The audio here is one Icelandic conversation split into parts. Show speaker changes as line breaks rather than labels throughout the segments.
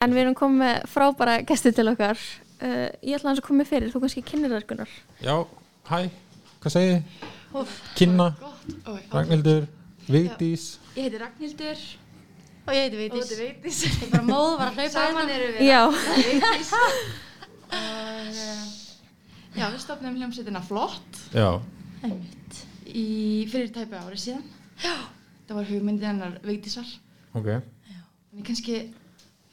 En við erum komið með frábæra gesti til okkar. Uh, ég ætla hans að koma með fyrir, þú kannski kynir þær Gunnar.
Já, hæ, hvað segið þið? Kynna, Ragnhildur, Vigdís
Ég heiti Ragnhildur
Og ég
og
heiti Veitis.
þetta er Veitis
Ég bara móð var að hlaupa
Saman
hérna.
eru við
Já,
Veitis og eh, já, við stopnum hljómsveitina Flott
Já,
Einmitt.
í fyrir tæpu ári síðan já. það var hugmyndið hennar Veitisar
ok,
en ég kannski,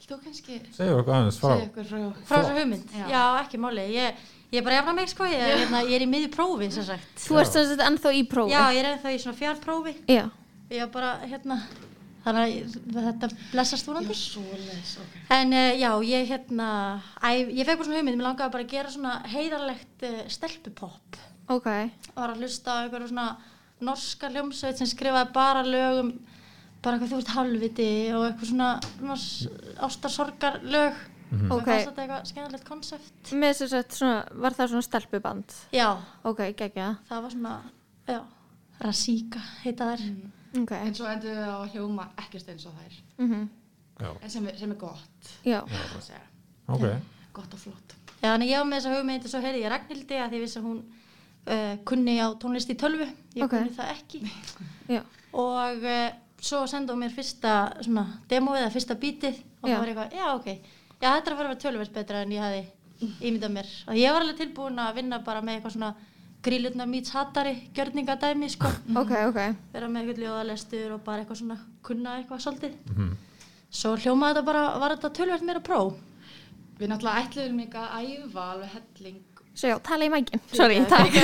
vilt þú kannski
segjum okkur aðeins frá
segja ykkur frá
Frá þessar hugmynd.
Já.
Já, ekki máli. Ég, ég er bara jafna mig, sko. Ég, hérna, ég er í miðju prófi, sem sagt.
þú ert þess að ennþá í prófi.
Já, ég er ennþá í svona fjárprófi.
Já.
Ég er bara, hérna, þannig að ég- þetta blessast
Já,
vonandi.
svoleiðis, ok
En uh, já, ég, hérna, æ, ég fekk bara svona hugmynd. Mér langaði bara að gera svona heiðarlegt uh, stelpupopp.
Ok,
og var að hlusta á einhverju svona norska hljómsveit sem skrifaði bara lögum bara eitthvað þú veist halvviti og eitthvað svona, svona ástarsorgar lög
Mhm.
og
Ok.
okay. fannst þetta eitthvað skemmtilegt konsept
með þess að svona, var það svona stelpuband.
já,
Ok, geggja.
það var svona já, Rasíka heita þær
Ok,
En svo endur við á að hljóma ekkert eins og þær
mm
Já,
En sem er, sem er gott,
já,
það að segja
ok,
Gott og flott
já, en ég var með þessa hugmynd og svo heyrði ég Ragnhildi að því ég vissi að hún uh, kunni á tónlist í tölvu ég
Ok.
kunni það ekki
já,
og uh, svo sendi hún mér fyrsta svona demóið eða fyrsta bítið og
Já.
það var eitthvað, já ok já þetta er að fara að vera tölverst betra en ég hafi ímyndað mér og ég var alveg tilbúin að vinna bara með eitthvað svona grílutna mýts hattari gjörningadæmi sko
ok, ok.
vera með eitthvað ljóðalestur og bara eitthvað svona kunna eitthvað svolítið
mhm,
svo hljómaði þetta bara, var þetta tölverst meira pró
Við náttúrulega ætluðum líka að æfa alveg helling
Svo já, tala í mækin. Sorry, takk.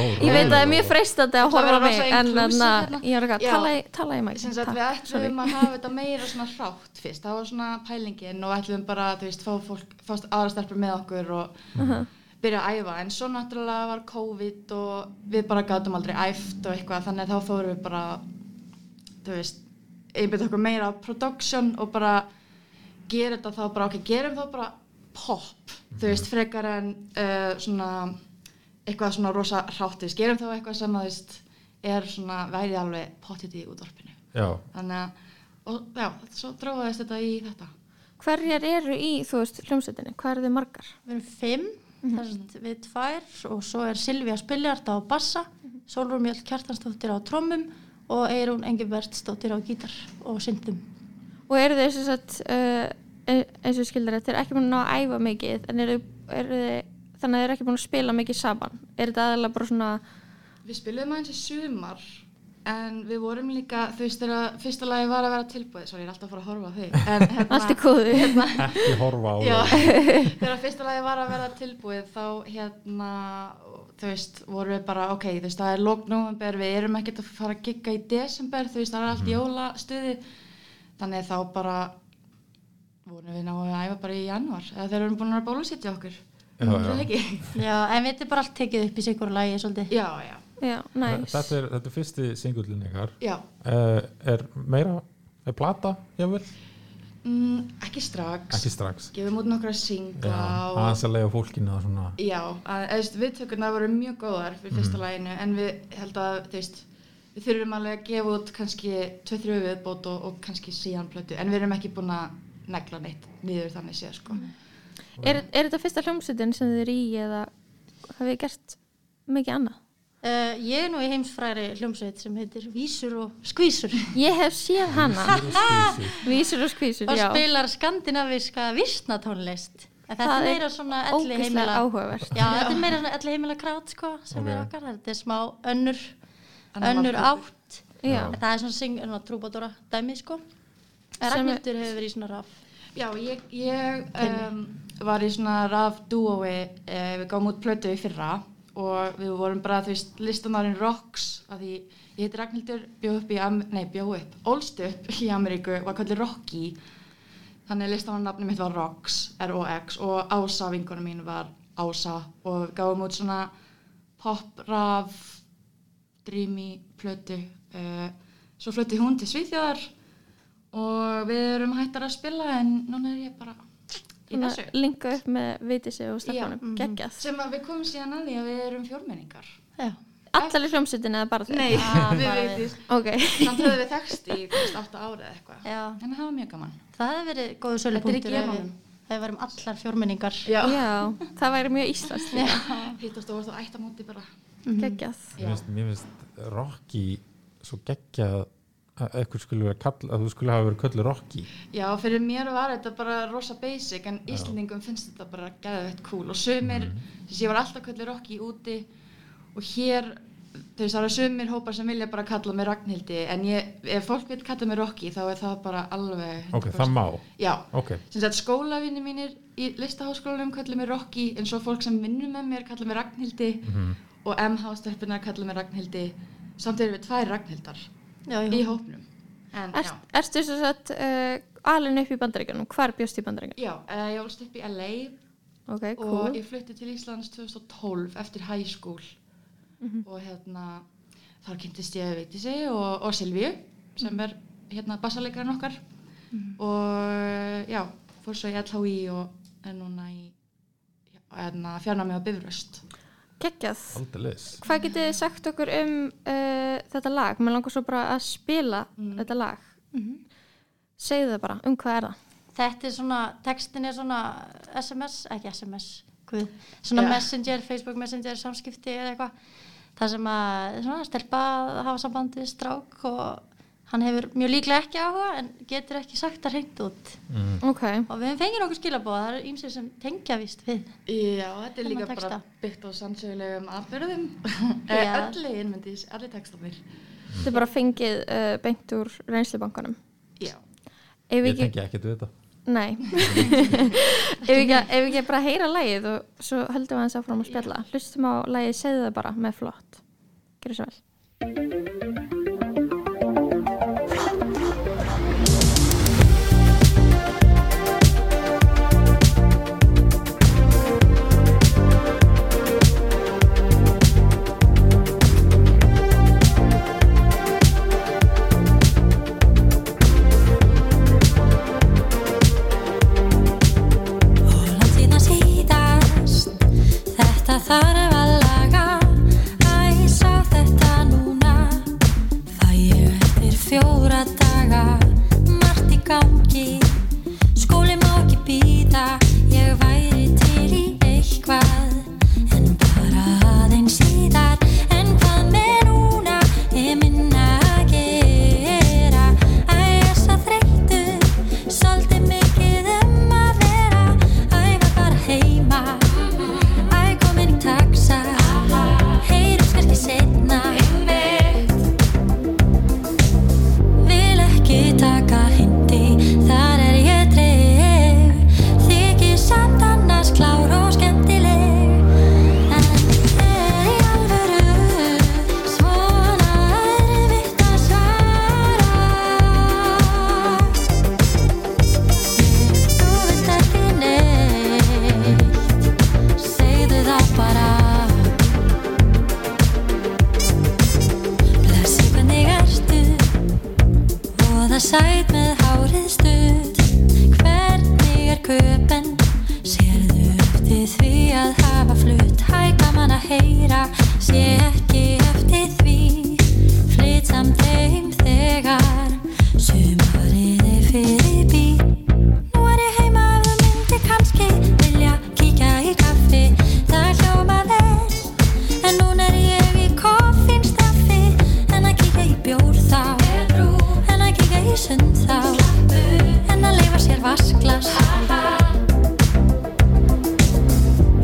Ó,
Ég veit að það er
rólegur.
mjög freistandi að
ætla að
horfa á
vera
mig,
rosa
en
inclusive
þannig
hérna.
að ég er ekki
Já.
að tala í- tala í mækin.
Sem sagt við
Takk, sorry.
ætluðum að hafa þetta meira svona hrátt fyrst Það var svona pælingin og ætluðum bara þú veist, fá fólk, fást aðra stelpur með okkur og byrja að æfa en svo náttúrulega var COVID og við bara gátum aldrei æft og eitthvað þannig að þá fórum við bara þú veist, einbyrð okkur meira á production og bara gera þetta þá bara, ok, gerum þá bara pop, þú veist, frekar en uh, svona eitthvað svona rosa hráttis, gerum þá eitthvað sem að þú veist, er svona væri alveg pottit í útvarpinu
Já,
þannig að, og já, svo dráðist þetta í þetta
Hverjar eru í, þú veist, hljómsveitinni? Hvað eru þið margar?
við erum fimm mm -hmm. við tvær og svo er Silvía Spiljarta á bassa mm -hmm. Solrún Mjöll Kjartansdóttir á trommum og Eirún Engibertsdóttir á gítar og syndum
Og eru þið sem sagt, uh, eins og skildar þetta, ekki búin að ná að æfa mikið, en eru, eru þið, þannig að þið eru ekki búin að spila mikið saman? Er þetta aðalega bara svona,
Við spilum aðeins í sumar en við vorum líka, þú veist þegar fyrsta lagi var að vera tilbúið, svo ég er alltaf að fara að horfa á þig en hérna,
allt í góðu?
ekki horfa á
já,
það
þegar fyrsta lagi var að vera tilbúið þá hérna, þú veist, vorum við bara ok, þú veist, það er lók november, við erum ekkert að fara að gigga í desember, þú veist, það er allt
Mhm.
jólastuði, þannig þá bara vorum við náðum að æfa bara í januar, eða þeir eru búin að bólusetja okkur,
Já,
Er það
já.
ekki?
Já, en við erum bara allt tekið upp í sigur lagi svolítið.
Já, já,
Já, næs.
Þetta er, þetta er fyrsti singullin ykkar
já.
uh, Er meira, er plata, jável?
Mm, ekki strax
Ekki strax
gefum út nokkra singla og
aðeins að leiða fólkinu að svona
já, að, eða, þú veist, viðtökurnar voru mjög góðar fyrir
Mhm.
fyrsta laginu en við held að þú veist, við þurfum alveg að gefa út kannski 2-3 viðbót og, og kannski síðan plötu en við erum ekki búin að negla neitt niður þannig séð sko.
Er, er þetta fyrsta hljómsveitin sem þið eru í eða hafið þið gert mikið annað?
Uh, ég er nú í heimsfræri hljómsveit sem heitir Vísur og Skvísur
Ég hef séð hana,
Skvísu.
vísur og skvísur,
og
já.
spilar skandinaviska vissnatónlist. En þetta
Það er
er meira svona elli
Ógislega
heimila.
áhugavert.
Já, þetta er meira svona elli heimila krát sko sem er
Ok.
okkar. Þetta er smá önnur,
Annar
önnur
markhópur.
átt.
Já.
En Það er svona, sing, svona trúbadóra dæmi sko. En
Sem er-
Ragnhildur hefur verið í svona raf.
Já, ég, ég um, var í svona raf dúói, uh, við gáum út plötu í fyrra og við vorum bara, þú veist, listamárin Rocks, að því ég heiti Ragnhildur, bjóð upp í, Am- nei, bjóð upp, ólst upp í Ameríku, var kallið Rocky, þannig að listamárin nafni mitt var Rocks, R-O-X og Ása, vingunum mín var Ása og við gáum út svona pop, raf, dreamy plötu, uh, svo flötti hún til Svíþjóðar og við erum hættar að spila en núna er ég bara í þessu
Linga upp með vitið sig og
Já,
mhm.
stefnum, geggjað.
sem að við komum síðan að því að við erum fjórmenningar
Já.
allar í hljómsutin eða bara þau?
Nei,
Ah,
við
bara
veitum
Ok,
Samt höfðum við þekst í þú veist, 8 ára eða eitthvað
Já,
En það var mjög gaman
það hefði verið góðu
er í
sölupunktur ef
genunum.
ef við varum allar fjórmenningar.
já, það væri mjög íslenskt
Hittast og varst á ættamóti bara
Mhm.
geggjað
Mér finnst, mér finnst Rocky svo geggjað að eitthvað skulle vera kall að þú skulle hafa verið köllu Rocky
Já, fyrir mér var þetta bara rosa basic en Íslendingum finnst þetta bara gæðveitt cool og sumir,
Mhm.
þess að ég var alltaf kallið Rocky úti og hér þú veist, það eru sumir hópar sem vilja bara kalla mig Ragnhildi en ég, ef fólk vil kalla mig Rocky þá er það bara alveg
ok, það má,
Já,
ok
sem sagt skólavinni mínir í listaháskólanum kallið mig Rocky en svo fólk sem vinnur með mér kallið mig Ragnhildi
mhm.
og MH-stelpunar kallið mig Ragnhildi samt erum við tvær Ragnhildar
Já, já.
í hópnum en,
Ert, Erstu svo satt uh, alin upp í bandaríkanum, hvar bjóst í bandaríkanum?
Já, uh, ég volst upp í LA
Ok,
og
cool
ég flutti til Íslands 2012 eftir high school
Mhm.
og hérna þar kynntist ég Veitisi og, og Silvíu
Mhm.
sem er hérna bassalegarinn okkar og já, fór svo í LHI og er núna í hérna, fjarnámi á Bifröst
Geggjað
aldrei leis
Hvað getið þið sagt okkur um uh, þetta lag? Mér langar svo bara að spila þetta lag mm
Mhm.
Segðu það bara, um hvað er það?
Þetta er svona, textin er svona SMS, ekki SMS, guð, svona
Já.
messenger, Facebook messenger, samskipti eða eitthvað. Það sem að svona, stelpa að hafa samband við strák og hann hefur mjög líklega ekki áhuga en getur ekki sagt það hreint út.
mm.
Ok,
Og við hefum fengið okkur skilabóða, það eru ýmsir sem tengja vist við.
Já, þetta er
Þennan
líka
texta.
bara byggt á sannsögulegum aðbyrðum
Já.
öll legin myndi, ég- allir textarnir
þetta er bara fengið uh, beint úr reynslubankanum
Já,
Ef
ég
ekki,
tengi ekkert við þetta
nei Ef ekki, ef ekki bara heyra lagið og svo höldum við hans áfram að spjalla Hlustum á lagið Segðu það bara með flott Gjörðu svo vel
Hólandíða síðast, þetta þarf að laga, æsa þetta núna. Fæ ég eftir fjóra daga, margt í gangi, skóli má ekki býða, ég væri til í eitthvað. En bara aðeins síðar, en hvað með núna, ég minna að gera. Æ, ég er svo þreyttur, svolítið mikið um að vera. Æ, var bara heima, æ, komin í taxa, heyrum kannski setna. Einmitt. Vil ekki taka hindi, þar er ég trygg Þykir samt annars klár og skemmtileg En er í alvöru, svona erfitt að svara Þú vilt ekki neitt, segðu það bara Blessi hvernig ertu og það sæt með hárið stutt hvernig er köpen sérðu eftir því að hafa flutt hæ gaman að heyra sé ekki eftir því flyt samt heim þegar sumarið er fyrir bí nú er ég heima ef þú myndir kannski vilja kíkja í kaffi það hljóma vel en núna er ég í koffinstaffi en að kíkja í bjór þá en að kíkja í sund þá en að leifa sér vasklas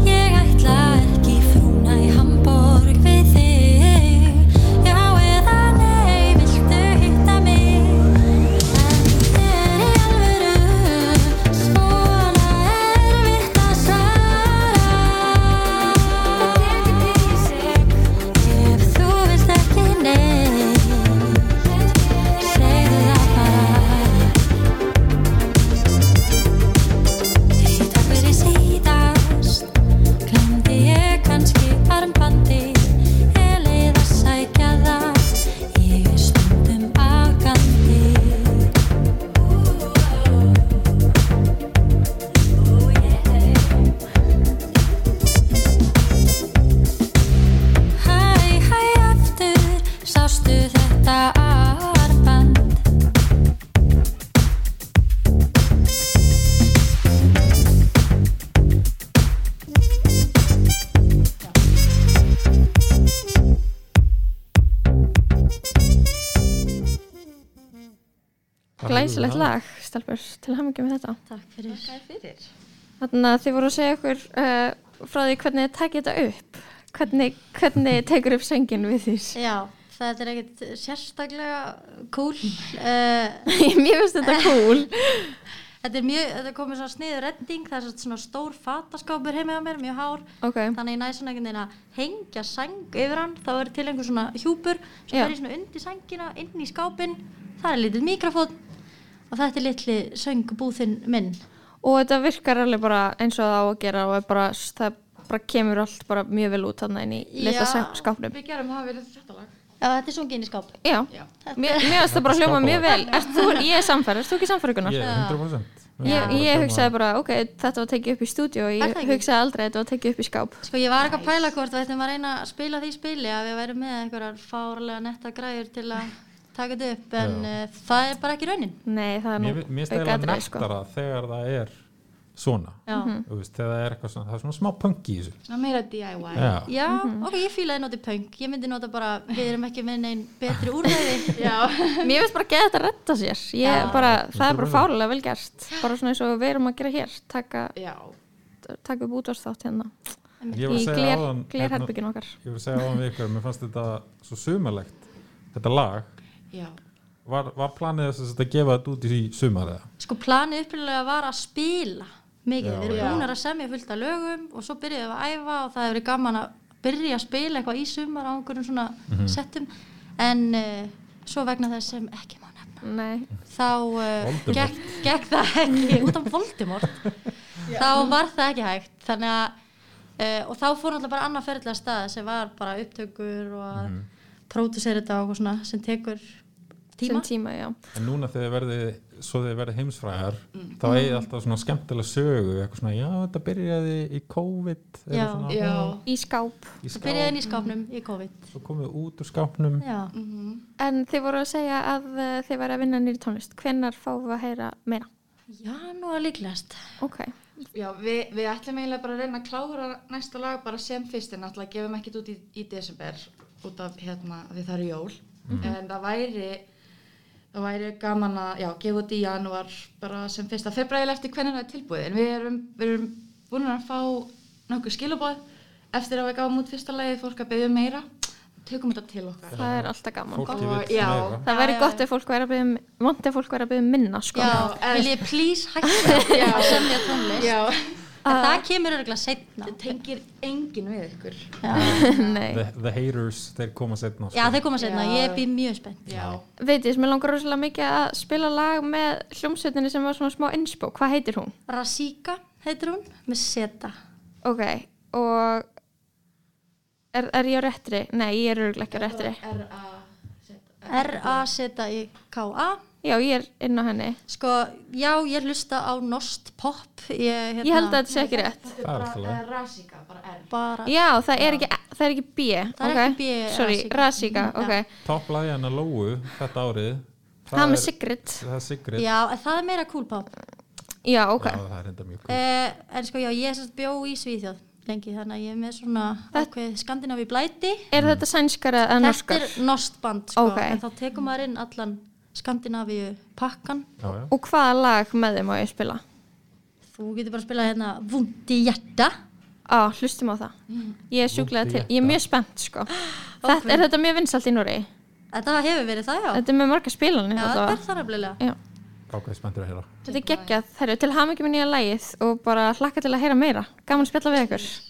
ég ætla ekki frúna í Hamborg við þig já eða nei viltu hitta mig en er í alvöru svona erfitt að svara það tekur til sig Ef þú vilt ekki neitt, segðu það bara
glæsilegt lag, Stelbur, til hamingi með þetta.
Takk fyrir.
Þannig að þið voru að segja okkur uh, frá því hvernig þið takið þetta upp. Hvernig, hvernig tekur upp söngin við því?
Já, þetta er ekkert sérstaklega cool. Uh,
Mér finnst þetta cool.
þetta er mjög, þetta er komið svona sniður redding, það er svolítið svona stór fataskápur heima á mér, mjög hár.
Ok,
Þannig ég næ svona einhvern veginn að hengja sæng yfir hann, þá er til einhver svona hjúpur sem
Já.
er svona undir sængina, inn í skápinn, það er lítið mikrofón og þetta er litli söngbúðinn minn.
og þetta virkar alveg bara eins og það á að gera og er bara, það bara kemur allt bara mjög vel út þannig inn í litla
Já,
skápnum.
Við gerum það verið þetta lag.
Já, þetta er sungið inn í skáp.
Já,
Já.
mér mér finnst það bara hljóma mjög vel. Ert þú, ég er samfæra, ert þú ekki samfæra Gunnar?
Ég, 100%
Ég, ég hugsaði bara, ok, þetta var tekið upp í stúdíu og
Er
ég
það ekki?
hugsaði aldrei að þetta var tekið upp í skáp.
Sko ég var ekki að pæla hvort við ættum að reyna að spila því spili að við værum með einhverjar fárlega netta græður til að taka þetta upp en
Já.
uh, það er bara ekki raunin.
Nei, það er nú
Mér mér finnst það eiginlega
aukaatriði, sko. Mhm.
nektara þegar það er svona
Já,
Þú veist, þegar það er eitthvað svona, það er svona smá punk í þessu
Svona meira DIY.
Já,
Já ok, ég fílaði notið punk. Ég myndi nota bara, við erum ekki með neinn betri úrræði.
Já.
Mér finnst bara að geða þetta að retta sér. Ég bara, það er bara
100%.
fálega vel gert. Bara svona eins og við erum að gera hér, taka,
Já.
taka upp útvarsþátt hérna.
ég var
Í
að segja
gler,
áðan hérna-
glerherbyggin okkar.
Ég voru að segja á hann við ykkur, mér fannst þetta svo sumarlegt, þetta lag,
Já.
var, var planið þess að þetta gefa þetta út í sumar eða?
Sko planið upprýðilega var að spila mikið,
Já,
við erum
já.
búnar að semja fullt af lögum og svo byrjuðum við að æfa og það hefur verið gaman að byrja að spila eitthvað í sumar á einhverjum svona settum en uh, svo vegna þess sem ekki má nefna
Nei,
þá uh,
Voldemort.
gekk, gekk það ekki út af Voldemort þá var það ekki hægt þannig að uh, og þá fór náttúrulega bara annað ferðlega stað sem var bara upptökur og að mm. pródusera þetta og eitthvað svona sem tekur tíma
sem tíma, já.
En núna þegar þið verðið, svo þið verðið heimsfræðar, þá eigið alltaf svona skemmtilega sögu, eitthvað svona, já þetta byrjaði í COVID, eða
Já.
svona,
Já.
Í skáp.
í
það byrjaði
skáp,
inn í skápnum í COVID
svo komið út úr skápnum.
Já.
En þið voru að segja að uh, þið væri að vinna nýri tónlist. Hvenær fáum við að heyra meira?
Já, nú er líklegast.
Ok,
Já, við, við ætlum eiginlega bara að reyna að klára næsta lag bara sem fyrst en náttúrulega gefum ekkert út í, í desember út af hérna að því það eru jól en það væri það væri gaman að, já, gefa út í janúar bara sem fyrst að febræðilega eftir hvernig það er tilbúið en við erum, við erum búin að fá nokkuð skilabóð eftir að við gáum út fyrsta lagið fólk að byggja meira tökum þetta til okkar
það er alltaf gaman.
Fólki
Og-
vill
já.
meira.
Það væri gott ef fólk væri að byggja, vant ef fólk væri að byggja minna, sko.
Já,
Já,
vil ég please hætta að semja tónlist?
Já,
En það kemur örgulega setna.
það tengir engin við ykkur
Nei.
The, the haters, þeir koma sko. setna.
Já, þeir koma setna.
Já.
Ég býð mjög spennt.
Já,
Veit ég, mér langar rosalega mikið að spila lag með hljómsveitinni sem var svona smá innspó. Hvað heitir hún?
Rasíka heitir hún, með seta.
Ok, og er, er ég á réttri? Nei, ég er örgulega ekki á réttri.
R-A-Z-I-K-A.
Já, ég er inn á henni.
Sko, já, ég hlusta á Nost Pop. Ég, hérna,
Ég held að þetta sé ekki rétt.
Það er alltaf leið.
Rasika, bara R
Bara,
Já, það er ekki, það er ekki B.
Það er
ok?
ekki B,
Sorry,
Rasika.
Rasika,
Já.
ok.
Topplaði hennar Lóu þetta árið.
Það, með Sigrid.
Það er Sigrid.
já, en það er meira cool pop.
Já, ok.
Já, það er enda mjög cool.
Uh, en sko, já, ég sérst bjó í Svíþjóð lengi, þannig að ég er með svona
Það-
ákveð skandinavi blæti.
Er þetta sænskara eða
Þetta
norskar?
er nost band sko,
Ókei.
en þá tekur maður inn allan Skandinavíu pakkan
Já, já.
Og hvaða lag með þeim á ég að spila?
þú getur bara að spila hérna vundi hjarta
Á, hlustum á það.
Mm.
Ég er sjúklega
Vondu
til, ég er
hjarta.
mjög spennt, sko. Þetta, er þetta mjög vinsalt í Núri?
þetta hefur verið það já,
Þetta er með marga spilanir
já
þetta
þetta
var.
er það nefnilega
Já.
Ákveð spenntur að heyra.
Þetta er geggjað, herru, til hafa ekki með nýja lægið og bara hlakka til að heyra meira. Gaman að spjalla við ykkur.